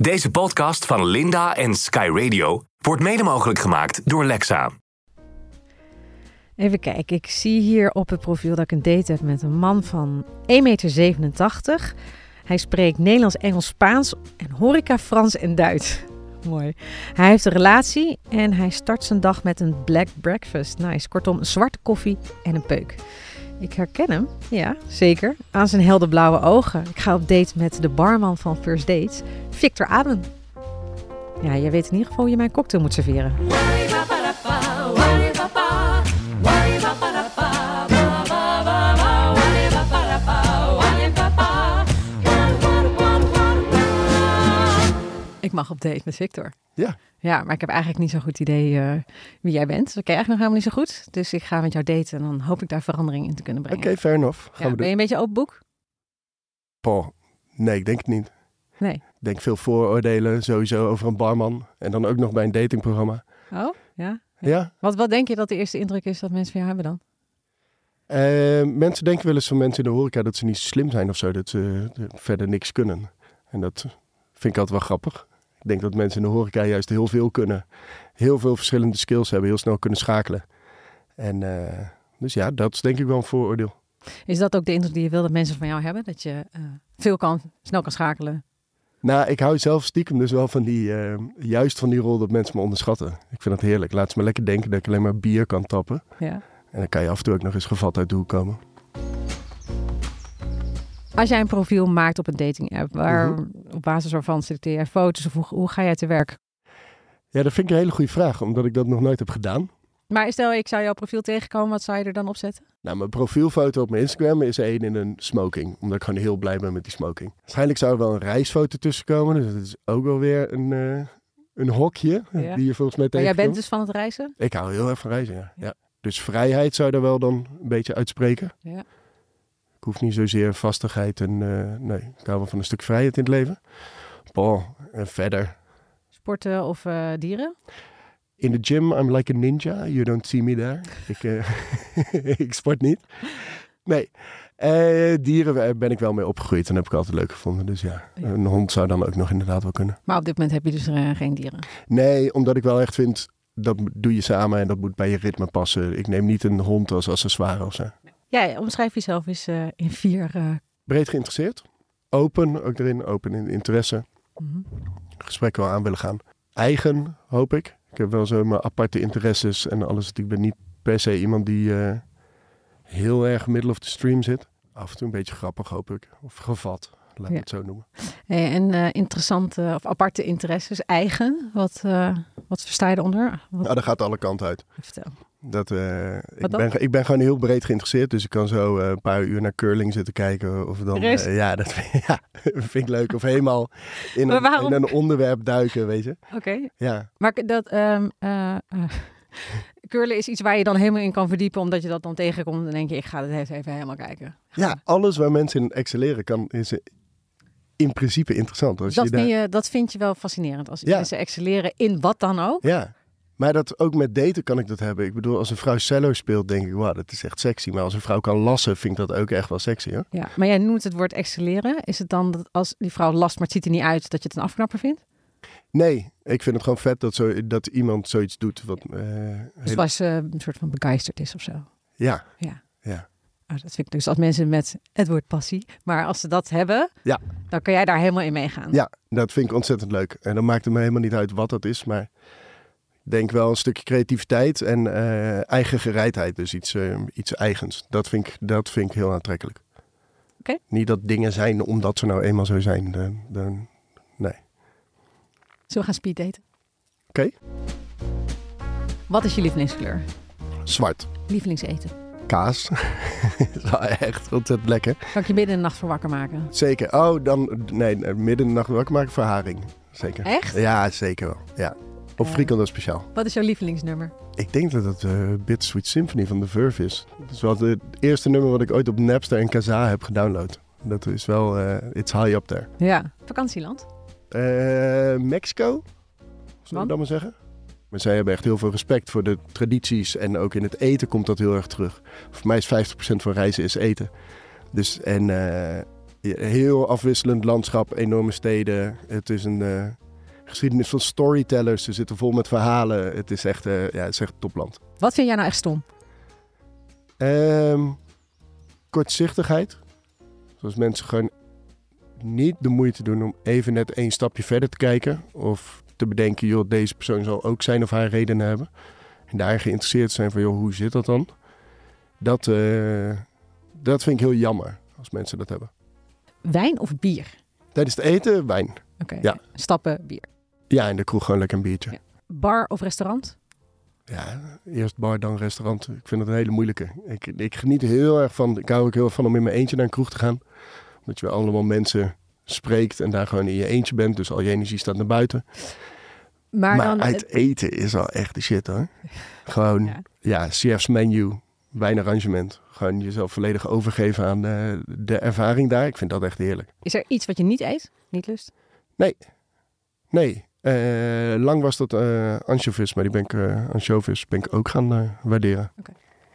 Deze podcast van Linda en Sky Radio wordt mede mogelijk gemaakt door Lexa. Even kijken, ik zie hier op het profiel dat ik een date heb met een man van 1,87 meter. Hij spreekt Nederlands, Engels, Spaans en horeca Frans en Duits. Mooi. Hij heeft een relatie en hij start zijn dag met een black breakfast. Nice. Kortom, een zwarte koffie en een peuk. Ik herken hem, ja, zeker, aan zijn helderblauwe ogen. Ik ga op date met de barman van First Dates, Victor Aben. Ja, jij weet in ieder geval hoe je mijn cocktail moet serveren. Ik mag op date met Victor. Ja. Ja, maar ik heb eigenlijk niet zo'n goed idee eh, wie jij bent. Dat ken je eigenlijk nog helemaal niet zo goed. Dus ik ga met jou daten en dan hoop ik daar verandering in te kunnen Oké, brengen. fair enough. Gaan Ja, we ben doen. je een beetje open boek? Paul, nee, ik denk het niet. Nee. Ik denk veel vooroordelen sowieso over een barman. En dan ook nog bij een datingprogramma. Oh, ja. Ja, Wat, wat denk je dat de eerste indruk is dat mensen van jou hebben dan? Eh, mensen denken wel eens van mensen in de horeca dat ze niet slim zijn of zo. Dat ze eh, verder niks kunnen. En dat vind ik altijd wel grappig. Ik denk dat mensen in de horeca juist heel veel kunnen. Heel veel verschillende skills hebben. Heel snel kunnen schakelen. En eh, dus ja, dat is denk ik wel een vooroordeel. Is dat ook de indruk die je wil dat mensen van jou hebben? Dat je eh, veel kan, snel kan schakelen? Nou, ik hou zelf stiekem dus wel van die, eh, juist van die rol dat mensen me onderschatten. Ik vind dat heerlijk. Laat ze me lekker denken dat ik alleen maar bier kan tappen. Ja. En dan kan je af en toe ook nog eens gevat uit de hoek komen. Als jij een profiel maakt op een dating app, waar, Mhm. op basis waarvan selecteer jij foto's of hoe, hoe ga jij te werk? Ja, dat vind ik een hele goede vraag, omdat ik dat nog nooit heb gedaan. Maar stel ik zou jouw profiel tegenkomen, wat zou je er dan op zetten? Nou, mijn profielfoto op mijn Instagram is één in een smoking. Omdat ik gewoon heel blij ben met die smoking. Waarschijnlijk zou er wel een reisfoto tussen komen. Dus dat is ook wel weer een, eh, een hokje Ja. die je volgens mij Maar jij tegenkomt. bent dus van het reizen? Ik hou heel erg van reizen, ja. ja. Dus vrijheid zou je daar wel dan een beetje uitspreken. Ja. Ik hoef niet zozeer vastigheid en... eh, nee, ik hou wel van een stuk vrijheid in het leven. Boah, en verder. Sporten of eh, dieren? In de gym, I'm like a ninja. You don't see me there. Ik, eh, ik sport niet. Nee. Eh, dieren eh, ben ik wel mee opgegroeid en heb ik altijd leuk gevonden. Dus ja, Ja. een hond zou dan ook nog inderdaad wel kunnen. Maar op dit moment heb je dus eh, geen dieren. Nee, omdat ik wel echt vind, dat doe je samen en dat moet bij je ritme passen. Ik neem niet een hond als accessoire of zo. Ja, omschrijf jezelf eens eh, in vier. eh, Breed geïnteresseerd. Open, ook erin. Open in interesse. mhm. Gesprek wel aan willen gaan. Eigen, hoop ik. Ik heb wel zo mijn aparte interesses en alles. Ik ben niet per se iemand die eh, heel erg middle of the stream zit. Af en toe een beetje grappig, hoop ik. Of gevat, laat ik Ja. het zo noemen. Hey, en eh, interessante of aparte interesses, eigen. Wat, eh, wat versta je eronder? Wat, Nou, dat gaat alle kanten uit. vertel. Dat, eh, ik, Wat dan? ben, ge- ik ben gewoon heel breed geïnteresseerd. Dus ik kan zo eh, een paar uur naar curling zitten kijken. Of dan, Serieus? eh, ja, dat vind, ja, vind ik leuk. Of helemaal in Maar een, waarom? in een onderwerp duiken, weet je. Oké. Ja, Maar k- dat ehm eh, eh, curlen is iets waar je dan helemaal in kan verdiepen, omdat je dat dan tegenkomt. En dan denk je, ik ga dit even helemaal kijken. ja alles waar mensen in excelleren kan, is eh, in principe interessant. Als Dat je daar... vind, je, dat vind je wel fascinerend. Als Ja. mensen excelleren in wat dan ook. Ja, maar dat ook met daten kan ik dat hebben. Ik bedoel, als een vrouw cello speelt, denk ik, wauw, dat is echt sexy. Maar als een vrouw kan lassen, vind ik dat ook echt wel sexy, hoor. Ja. Maar jij noemt het woord excelleren. Is het dan dat als die vrouw last, maar het ziet er niet uit, dat je het een afknapper vindt? Nee, ik vind het gewoon vet dat, zo, dat iemand zoiets doet. Wat, eh, Dus heel- was eh, een soort van begeisterd is of zo. Ja, Ja. Ja. Oh, dat vind ik dus als mensen met het woord passie, maar als ze dat hebben, Ja. dan kan jij daar helemaal in meegaan. ja, dat vind ik ontzettend leuk. En dan maakt het me helemaal niet uit wat dat is, maar... Ik denk wel een stukje creativiteit en eh, eigen gereidheid. Dus iets, eh, iets eigens. Dat vind, ik, dat vind ik heel aantrekkelijk. Oké. Niet dat dingen zijn omdat ze nou eenmaal zo zijn. Dan, dan, nee. Zullen we gaan speeddaten? Oké. Wat is je lievelingskleur? Zwart. Lievelingseten? kaas. is wel echt ontzettend lekker. Kan ik je midden in de nacht voor wakker maken? Zeker. Oh, dan... Nee, nee, midden in de nacht wakker maken voor haring. Zeker. Echt? Ja, zeker wel. Ja. Of Ja. frikandel speciaal. Wat is jouw lievelingsnummer? Ik denk dat het eh Bittersweet Symphony van The Verve is. Dat is wel het eerste nummer wat ik ooit op Napster en Kazaa heb gedownload. Dat is wel... eh it's high up there. Ja. Vakantieland? Eh, Mexico? Zullen Want? we dat maar zeggen? Maar zij hebben echt heel veel respect voor de tradities. En ook in het eten komt dat heel erg terug. Voor mij is 50% van reizen is eten. Dus en eh, heel afwisselend landschap, enorme steden. Het is een eh, geschiedenis van storytellers. Ze zitten vol met verhalen. Het is echt, eh, ja, het is echt topland. Wat vind jij nou echt stom? Ehm, kortzichtigheid. Zoals mensen gewoon niet de moeite doen om even net één stapje verder te kijken. Of te bedenken, joh, deze persoon zal ook zijn of haar redenen hebben. En daarin geïnteresseerd zijn van, joh, hoe zit dat dan? Dat, eh, dat vind ik heel jammer als mensen dat hebben. Wijn of bier? Tijdens het eten, wijn. Oké. Ja. Stappen, bier. Ja, in de kroeg gewoon lekker een biertje. Ja. Bar of restaurant? Ja, eerst bar, dan restaurant. Ik vind het een hele moeilijke. Ik, ik geniet er heel erg van. Ik hou ook heel erg van om in mijn eentje naar een kroeg te gaan. Omdat je wel allemaal mensen spreekt en daar gewoon in je eentje bent. Dus al je energie staat naar buiten. Maar, Maar, dan, uit eten is wel echt de shit hoor. Gewoon, Ja. ja, chef's menu, wijn arrangement. Gewoon jezelf volledig overgeven aan eh, de ervaring daar. Ik vind dat echt heerlijk. is er iets wat je niet eet? Niet lust? Nee, eh, lang was dat eh anchovies, maar die ben ik, eh, anchovies ben ik ook gaan eh, waarderen.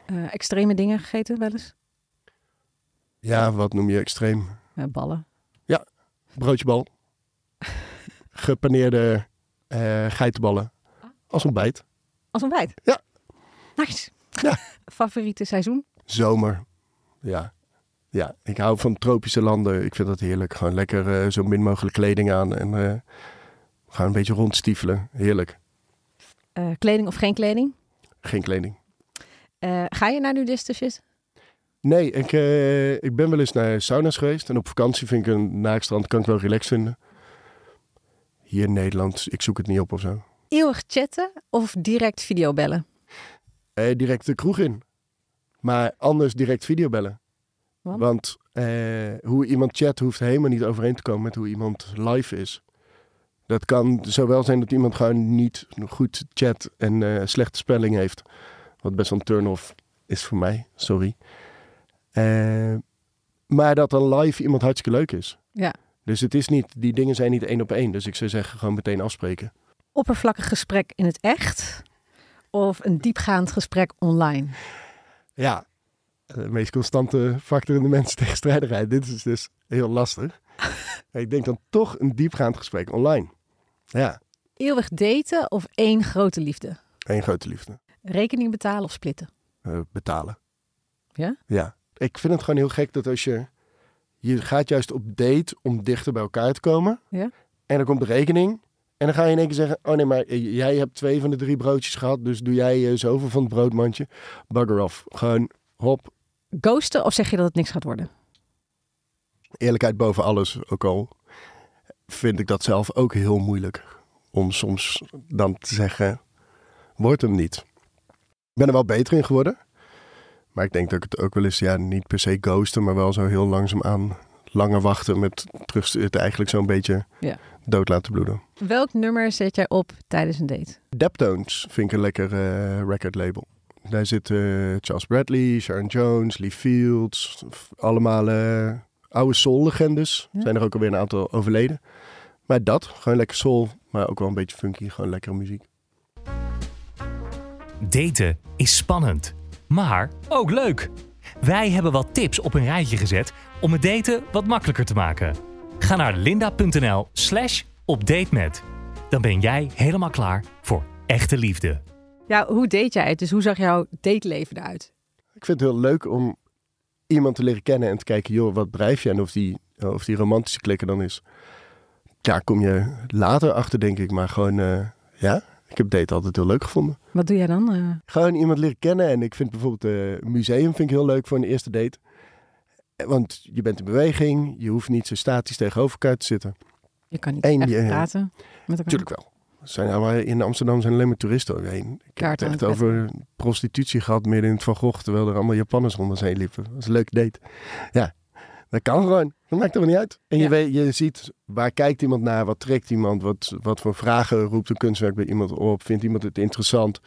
Eh, extreme dingen gegeten wel eens? Ja, wat noem je extreem? Eh, ballen. broodjebal, gepaneerde eh, geitenballen als ontbijt. Als ontbijt? Ja. Nice. Ja. Favoriete seizoen? Zomer, ja. Ja, ik hou van tropische landen. Ik vind dat heerlijk. Gewoon lekker eh, zo min mogelijk kleding aan en eh gewoon een beetje rondstiefelen. Heerlijk. Eh, kleding of geen kleding? Geen kleding. Eh, ga je naar nudisten shit? Nee, ik, eh, ik ben wel eens naar sauna's geweest. En op vakantie vind ik een naakstrand, kan ik wel relaxed vinden. Hier in Nederland, ik zoek het niet op of zo. Eeuwig chatten of direct videobellen? Eh, direct de kroeg in. Maar anders direct videobellen. Want? Want, eh, hoe iemand chat hoeft helemaal niet overeen te komen met hoe iemand live is. Dat kan zowel zijn dat iemand gewoon niet goed chat en eh, slechte spelling heeft. Wat best wel een turn-off is voor mij, sorry. Eh, maar dat dan live iemand hartstikke leuk is. Ja. Dus het is niet, die dingen zijn niet één op één. Dus ik zou zeggen, gewoon meteen afspreken. Oppervlakkig gesprek in het echt? Of een diepgaand gesprek online? Ja, eh, de meest constante factor in de mensen tegenstrijdigheid. Dit is dus heel lastig. ik denk dan toch een diepgaand gesprek online. Ja, Eeuwig daten of één grote liefde? één grote liefde. Rekening betalen of splitten? Eh, betalen. Ja? Ja. Ik vind het gewoon heel gek dat als je... Je gaat juist op date om dichter bij elkaar te komen. Ja. En dan komt de rekening. En dan ga je in één keer zeggen... Oh nee, maar eh, jij hebt twee van de drie broodjes gehad. Dus doe jij eh, zoveel van het broodmandje. Bugger off. Gewoon hop, Ghosten of zeg je dat het niks gaat worden? eerlijkheid boven alles, ook al vind ik dat zelf ook heel moeilijk. Om soms dan te zeggen, wordt hem niet. Ik ben er wel beter in geworden. Maar ik denk dat ik het ook wel eens, ja, niet per se ghosten, maar wel zo heel langzaamaan langer wachten met terug het eigenlijk zo'n beetje Ja. dood laten bloeden. Welk nummer zet jij op tijdens een date? Deptones vind ik een lekker eh, record label. Daar zitten Charles Bradley, Sharon Jones, Lee Fields. f- Allemaal eh, oude soul-legendes. Ja. Zijn er ook alweer een aantal overleden. Maar dat, gewoon lekker soul, maar ook wel een beetje funky. Gewoon lekkere muziek. Daten is spannend, maar ook leuk. Wij hebben wat tips op een rijtje gezet om het daten wat makkelijker te maken. Ga naar linda.nl slash opdatemet. Dan ben jij helemaal klaar voor echte liefde. Ja, hoe date jij het? Dus hoe zag jouw dateleven eruit? Ik vind het heel leuk om iemand te leren kennen en te kijken, joh, wat drijf je en of die, eh, of die romantische klikker dan is. Daar kom je later achter, denk ik. Maar gewoon, eh, ja, ik heb date altijd heel leuk gevonden. Wat doe jij dan? eh? Gewoon iemand leren kennen. En ik vind bijvoorbeeld eh museum vind ik heel leuk voor een eerste date. Eh, Want je bent in beweging. Je hoeft niet zo statisch tegenover elkaar te zitten. je kan niet Eén, echt ja, ja. praten met elkaar. Natuurlijk wel. Er Zijn, allemaal- in Amsterdam zijn alleen maar toeristen overheen. Ik heb Kaart het aan echt het over prostitutie gehad midden in het Van Gogh. Terwijl er allemaal Japanners om ons heen liepen. Dat is een leuke date. Ja, dat kan gewoon. Dat maakt er wel niet uit. En Ja. je, weet, je ziet waar kijkt iemand naar. Wat trekt iemand. Wat, wat voor vragen roept een kunstwerk bij iemand op. Vindt iemand het interessant?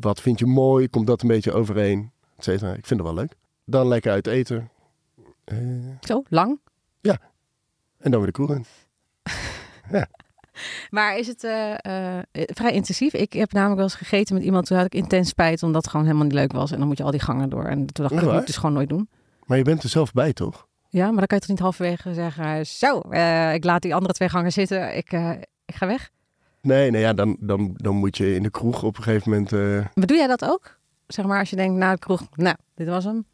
Wat vind je mooi? Komt dat een beetje overeen? Et cetera. Ik vind het wel leuk. Dan lekker uit eten. Eh, Zo, lang. en dan weer de kroeg in. Maar is het eh, eh, vrij intensief? Ik heb namelijk wel eens gegeten met iemand. Toen had ik intens spijt omdat het gewoon helemaal niet leuk was. En dan moet je al die gangen door. En toen dacht ik, Echt dat moet waar? ik dus gewoon nooit doen. Maar je bent er zelf bij, toch? Ja, maar dan kan je toch niet halverwege zeggen... eh, Zo, eh, ik laat die andere twee gangen zitten. Ik, eh, ik ga weg. Nee, nee ja, dan, dan, dan moet je in de kroeg op een gegeven moment... eh, Maar doe jij dat ook? Zeg maar als je denkt na de kroeg... Nou, dit was hem.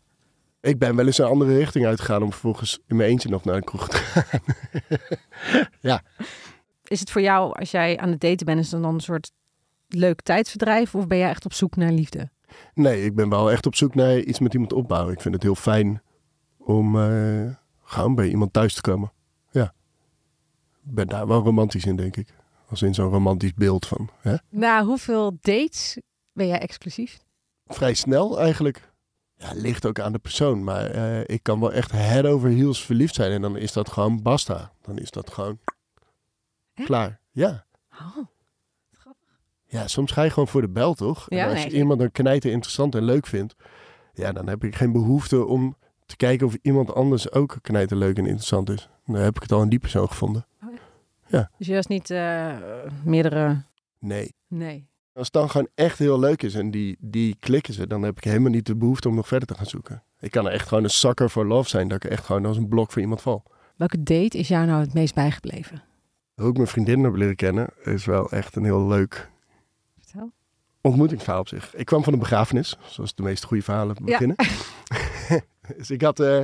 ik ben wel eens een andere richting uitgegaan om vervolgens in mijn eentje nog naar een kroeg te gaan. Is het voor jou, als jij aan het daten bent... Is het dan een soort leuk tijdverdrijf? Of ben jij echt op zoek naar liefde? Nee, ik ben wel echt op zoek naar iets met iemand opbouwen. Ik vind het heel fijn om eh, gewoon bij iemand thuis te komen. Ja. Ik ben daar wel romantisch in, denk ik. Als in zo'n romantisch beeld van. Hè? Na hoeveel dates ben jij exclusief? Vrij snel eigenlijk. Ja, ligt ook aan de persoon. Maar eh, ik kan wel echt head over heels verliefd zijn. En dan is dat gewoon basta. Dan is dat gewoon Echt? klaar. Ja. Oh, Ja, soms ga je gewoon voor de bel, toch? Ja, en als nee. je iemand een knijter interessant en leuk vindt, ja, dan heb ik geen behoefte om te kijken of iemand anders ook knijter leuk en interessant is. Dan heb ik het al in die persoon gevonden. dus je was niet eh, meerdere... Nee. Nee. Als het dan gewoon echt heel leuk is en die, die klikken ze, dan heb ik helemaal niet de behoefte om nog verder te gaan zoeken. Ik kan er echt gewoon een sucker voor love zijn, dat ik echt gewoon als een blok voor iemand val. Welke date is jou nou het meest bijgebleven? Hoe ik mijn vriendin heb leren kennen, is wel echt een heel leuk Vertel. ontmoetingsverhaal op zich. Ik kwam van een begrafenis, zoals de meeste goede verhalen Ja. beginnen. dus ik had eh,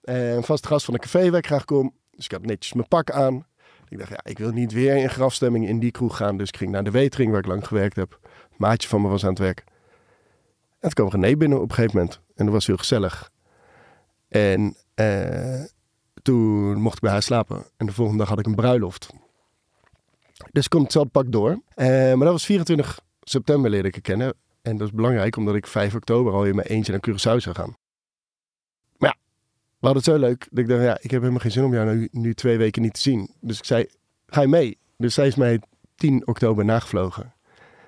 eh, een vast gast van een café waar ik graag kom. Dus ik had netjes mijn pak aan. Ik dacht, ja, ik wil niet weer in grafstemming in die kroeg gaan. Dus ik ging naar de Wetering, waar ik lang gewerkt heb. Een maatje van me was aan het werk. En toen kwam René binnen op een gegeven moment. En dat was heel gezellig. En eh, toen mocht ik bij haar slapen. En de volgende dag had ik een bruiloft. Dus ik kon hetzelfde pak door. Eh, maar dat was 24 september leerde ik haar kennen. En dat is belangrijk omdat ik 5 oktober al in mijn eentje naar Curaçao zou gaan. Maar ja, we hadden het zo leuk. Dat ik dacht, ja, ik heb helemaal geen zin om jou nu, nu twee weken niet te zien. Dus ik zei, ga je mee? Dus zij is mij 10 oktober nagevlogen.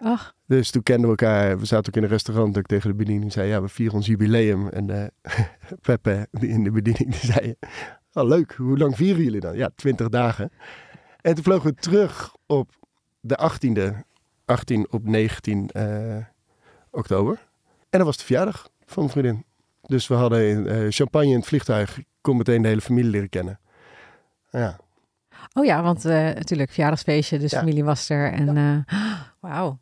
Ach, Dus toen kenden we elkaar. We zaten ook in een restaurant. Dat ik tegen de bediening zei, ja, we vieren ons jubileum. En eh Peppe die in de bediening die zei, oh, leuk, hoe lang vieren jullie dan? Ja, 20 dagen. En toen vlogen we terug op de 18e, 18 op 19 eh, oktober. En dat was de verjaardag van mijn vriendin. Dus we hadden eh, champagne in het vliegtuig. Ik kon meteen de hele familie leren kennen. Nou Ja, oh ja, want eh, natuurlijk, verjaardagsfeestje, dus Ja. familie was er. En eh, wauw. Oké,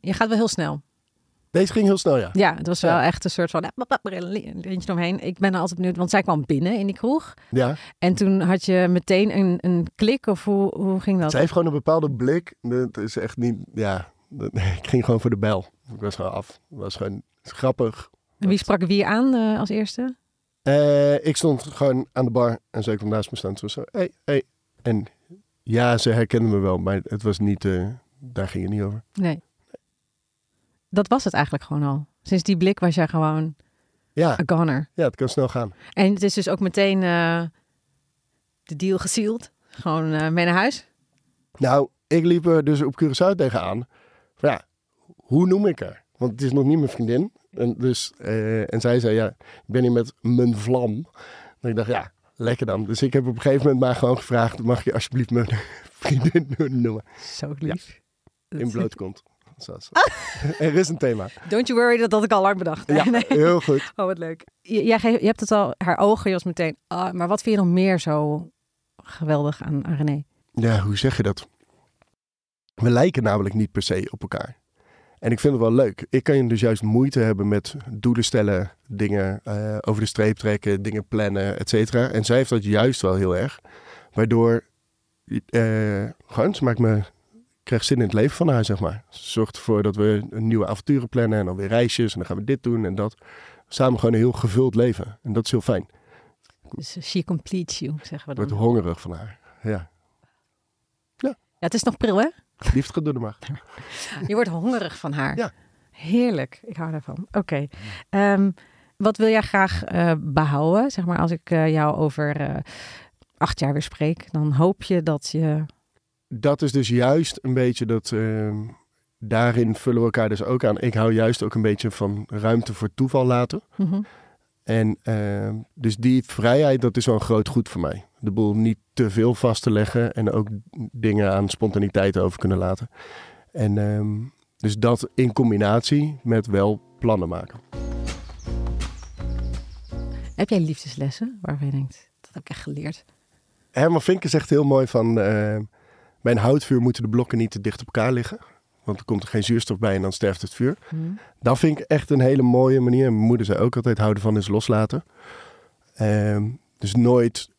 je gaat wel heel snel. deze ging heel snel, ja. Ja, het was wel Ja. echt een soort van eh, bap, bap, een lintje omheen. Ik ben er altijd benieuwd, want zij kwam binnen in die kroeg. Ja, En toen had je meteen een, een klik, of hoe, hoe ging dat? Zij heeft gewoon een bepaalde blik. Dat is echt niet. Ja, dat- ik ging gewoon voor de bel. Ik was gewoon af. Het was gewoon grappig. En Wie sprak wie aan eh, als eerste? Eh, ik stond gewoon aan de bar en zij kwam naast me staan. Toen zo, hey, hey. En ja, ze herkende me wel, maar het was niet. eh, daar ging het niet over. Nee. Dat was het eigenlijk gewoon al. Sinds die blik was jij gewoon Ja, a goner. ja, het kan snel gaan. En het is dus ook meteen eh, de deal gesealed. Gewoon eh, mee naar huis. Nou, ik liep er dus op Curaçao tegenaan. Van ja, hoe noem ik haar? Want het is nog niet mijn vriendin. En, dus, eh, en zij zei, ja, ik ben hier met mijn vlam. En ik dacht, ja, lekker dan. Dus ik heb op een gegeven moment maar gewoon gevraagd... mag je alsjeblieft mijn vriendin noemen? Zo lief. In bloot komt. Zoals- Er is een thema. Don't you worry, dat had ik al lang bedacht. Ja, Nee. heel goed. Oh, wat leuk. J- jij ge- je hebt het al, haar ogen, je was meteen. ah, maar wat vind je nog meer zo geweldig aan, aan René? Ja, hoe zeg je dat? We lijken namelijk niet per se op elkaar. En ik vind het wel leuk. Ik kan dus juist moeite hebben met doelen stellen, dingen eh, over de streep trekken, dingen plannen, et cetera. En zij heeft dat juist wel heel erg. Waardoor, eh gewoon, ze maakt me, ik krijg zin in het leven van haar, zeg maar. Ze zorgt ervoor dat we een nieuwe avonturen plannen en dan weer reisjes en dan gaan we dit doen en dat. Samen gewoon een heel gevuld leven. En dat is heel fijn. Dus eh, she completes you, zeggen Ik we word dan. hongerig van haar. Ja, Ja, het is nog pril, hè? liefst gaat door de maag. Je wordt hongerig van haar. Ja. Heerlijk, ik hou daarvan. Oké. Ehm, wat wil jij graag eh, behouden? Zeg maar, als ik eh, jou over eh, acht jaar weer spreek, dan hoop je dat je. dat is dus juist een beetje dat. ehm, daarin vullen we elkaar dus ook aan. Ik hou juist ook een beetje van ruimte voor toeval laten. Mhm. En ehm, dus die vrijheid, dat is wel een groot goed voor mij. De boel niet te veel vast te leggen en ook dingen aan spontaniteit over kunnen laten. En ehm, dus dat in combinatie met wel plannen maken. Heb jij liefdeslessen waarvan je denkt, dat heb ik echt geleerd? Herman Vinken zegt heel mooi van... eh, bij een houtvuur moeten de blokken niet te dicht op elkaar liggen. Want er komt er geen zuurstof bij en dan sterft het vuur. Hm. Dat vind ik echt een hele mooie manier. Mijn moeder zei ook altijd houden van is loslaten. Ehm, dus nooit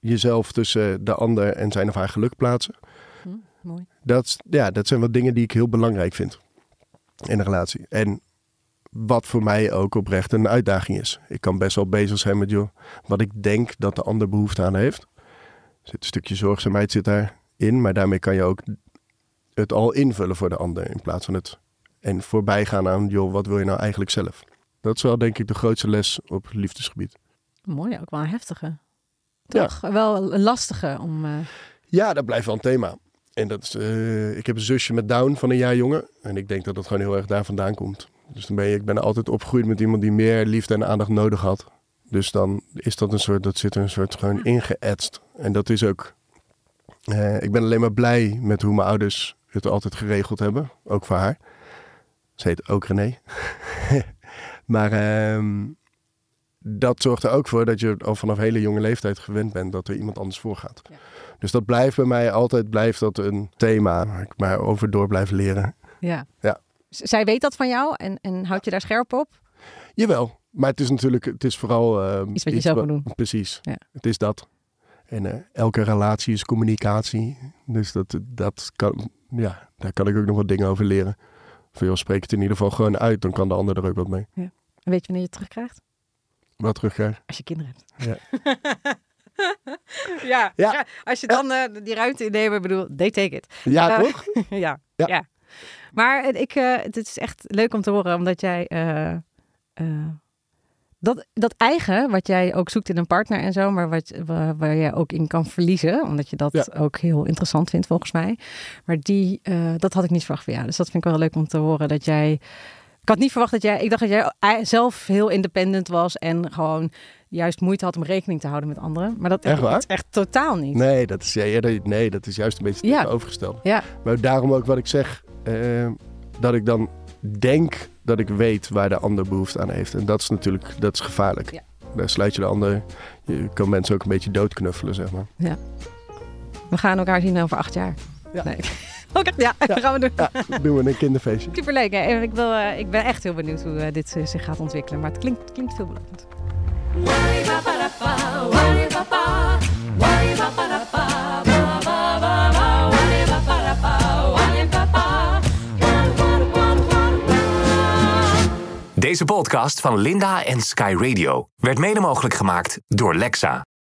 jezelf tussen de ander en zijn of haar geluk plaatsen. Hm, Mooi. Dat, is- ja, dat zijn wat dingen die ik heel belangrijk vind in een relatie. En wat voor mij ook oprecht een uitdaging is. Ik kan best wel bezig zijn met joh, wat ik denk dat de ander behoefte aan heeft. Er zit een stukje zorgzaamheid zit daarin, maar daarmee kan je ook het al invullen voor de ander in plaats van het en voorbij gaan aan joh, wat wil je nou eigenlijk zelf? Dat is wel denk ik de grootste les op liefdesgebied. Mooi, ook wel een heftige. Toch? Wel een lastige om... eh, Ja, dat blijft wel een thema. En dat is, eh, ik heb een zusje met Down van een jaar jonger. En ik denk dat dat gewoon heel erg daar vandaan komt. Dus dan ben je, ik ben altijd opgegroeid met iemand die meer liefde en aandacht nodig had. Dus dan is dat een soort, dat zit er een soort gewoon ingeëtst. En dat is ook, eh, ik ben alleen maar blij met hoe mijn ouders het altijd geregeld hebben. Ook voor haar. Ze heet ook René. maar ehm, dat zorgt er ook voor dat je al vanaf hele jonge leeftijd gewend bent dat er iemand anders voorgaat. Dus dat blijft bij mij altijd blijft dat een thema waar ik maar over door blijf leren. ja. Ja. Z- Zij weet dat van jou en, en houdt je daar scherp op? Jawel, maar het is natuurlijk, het is vooral... eh, Iets wat je zelf wa- moet doen. Precies, Ja. het is dat. En eh, elke relatie is communicatie. Dus dat, dat kan, ja, daar kan ik ook nog wat dingen over leren. Van joh, spreek het in ieder geval gewoon uit, dan kan de ander er ook wat mee. En weet je wanneer je het terugkrijgt? Wat terugkrijgen. Als je kinderen hebt. Ja. ja, Ja. ja, als je dan eh, die ruimte inneemt, ik bedoel, they take it. Ja, Eh, Ah, toch? ja, ja. Ja. Maar het- ik, eh, het is echt leuk om te horen, omdat jij eh, eh, dat, dat eigen, wat jij ook zoekt in een partner en zo, maar wat, waar, waar jij ook in kan verliezen, omdat je dat Ja. ook heel interessant vindt volgens mij. Maar die, eh, dat had ik niet verwacht van jou. Dus dat vind ik wel leuk om te horen dat jij. Ik had niet verwacht dat jij. Ik dacht dat jij ei- zelf heel independent was en gewoon juist moeite had om rekening te houden met anderen. Maar dat Echt waar? dat is echt totaal niet. Nee dat, is, ja, ja, dat- nee, dat is juist een beetje Ja. tegenovergesteld. Ja, Maar daarom ook wat ik zeg, eh, dat ik dan denk dat ik weet waar de ander behoefte aan heeft. En dat is natuurlijk dat is gevaarlijk. Ja. Daar sluit je de ander, je kan mensen ook een beetje doodknuffelen, zeg maar. we gaan elkaar zien over acht jaar. Ja. Nee. Oké, ja, dat gaan we doen. Ja, doen we een kinderfeestje. Superleuk. Hè? En Ik, wil, eh, ik ben echt heel benieuwd hoe eh, dit eh, zich gaat ontwikkelen. Maar het klinkt, klinkt veelbelovend. Deze podcast van Linda en Sky Radio werd mede mogelijk gemaakt door Lexa.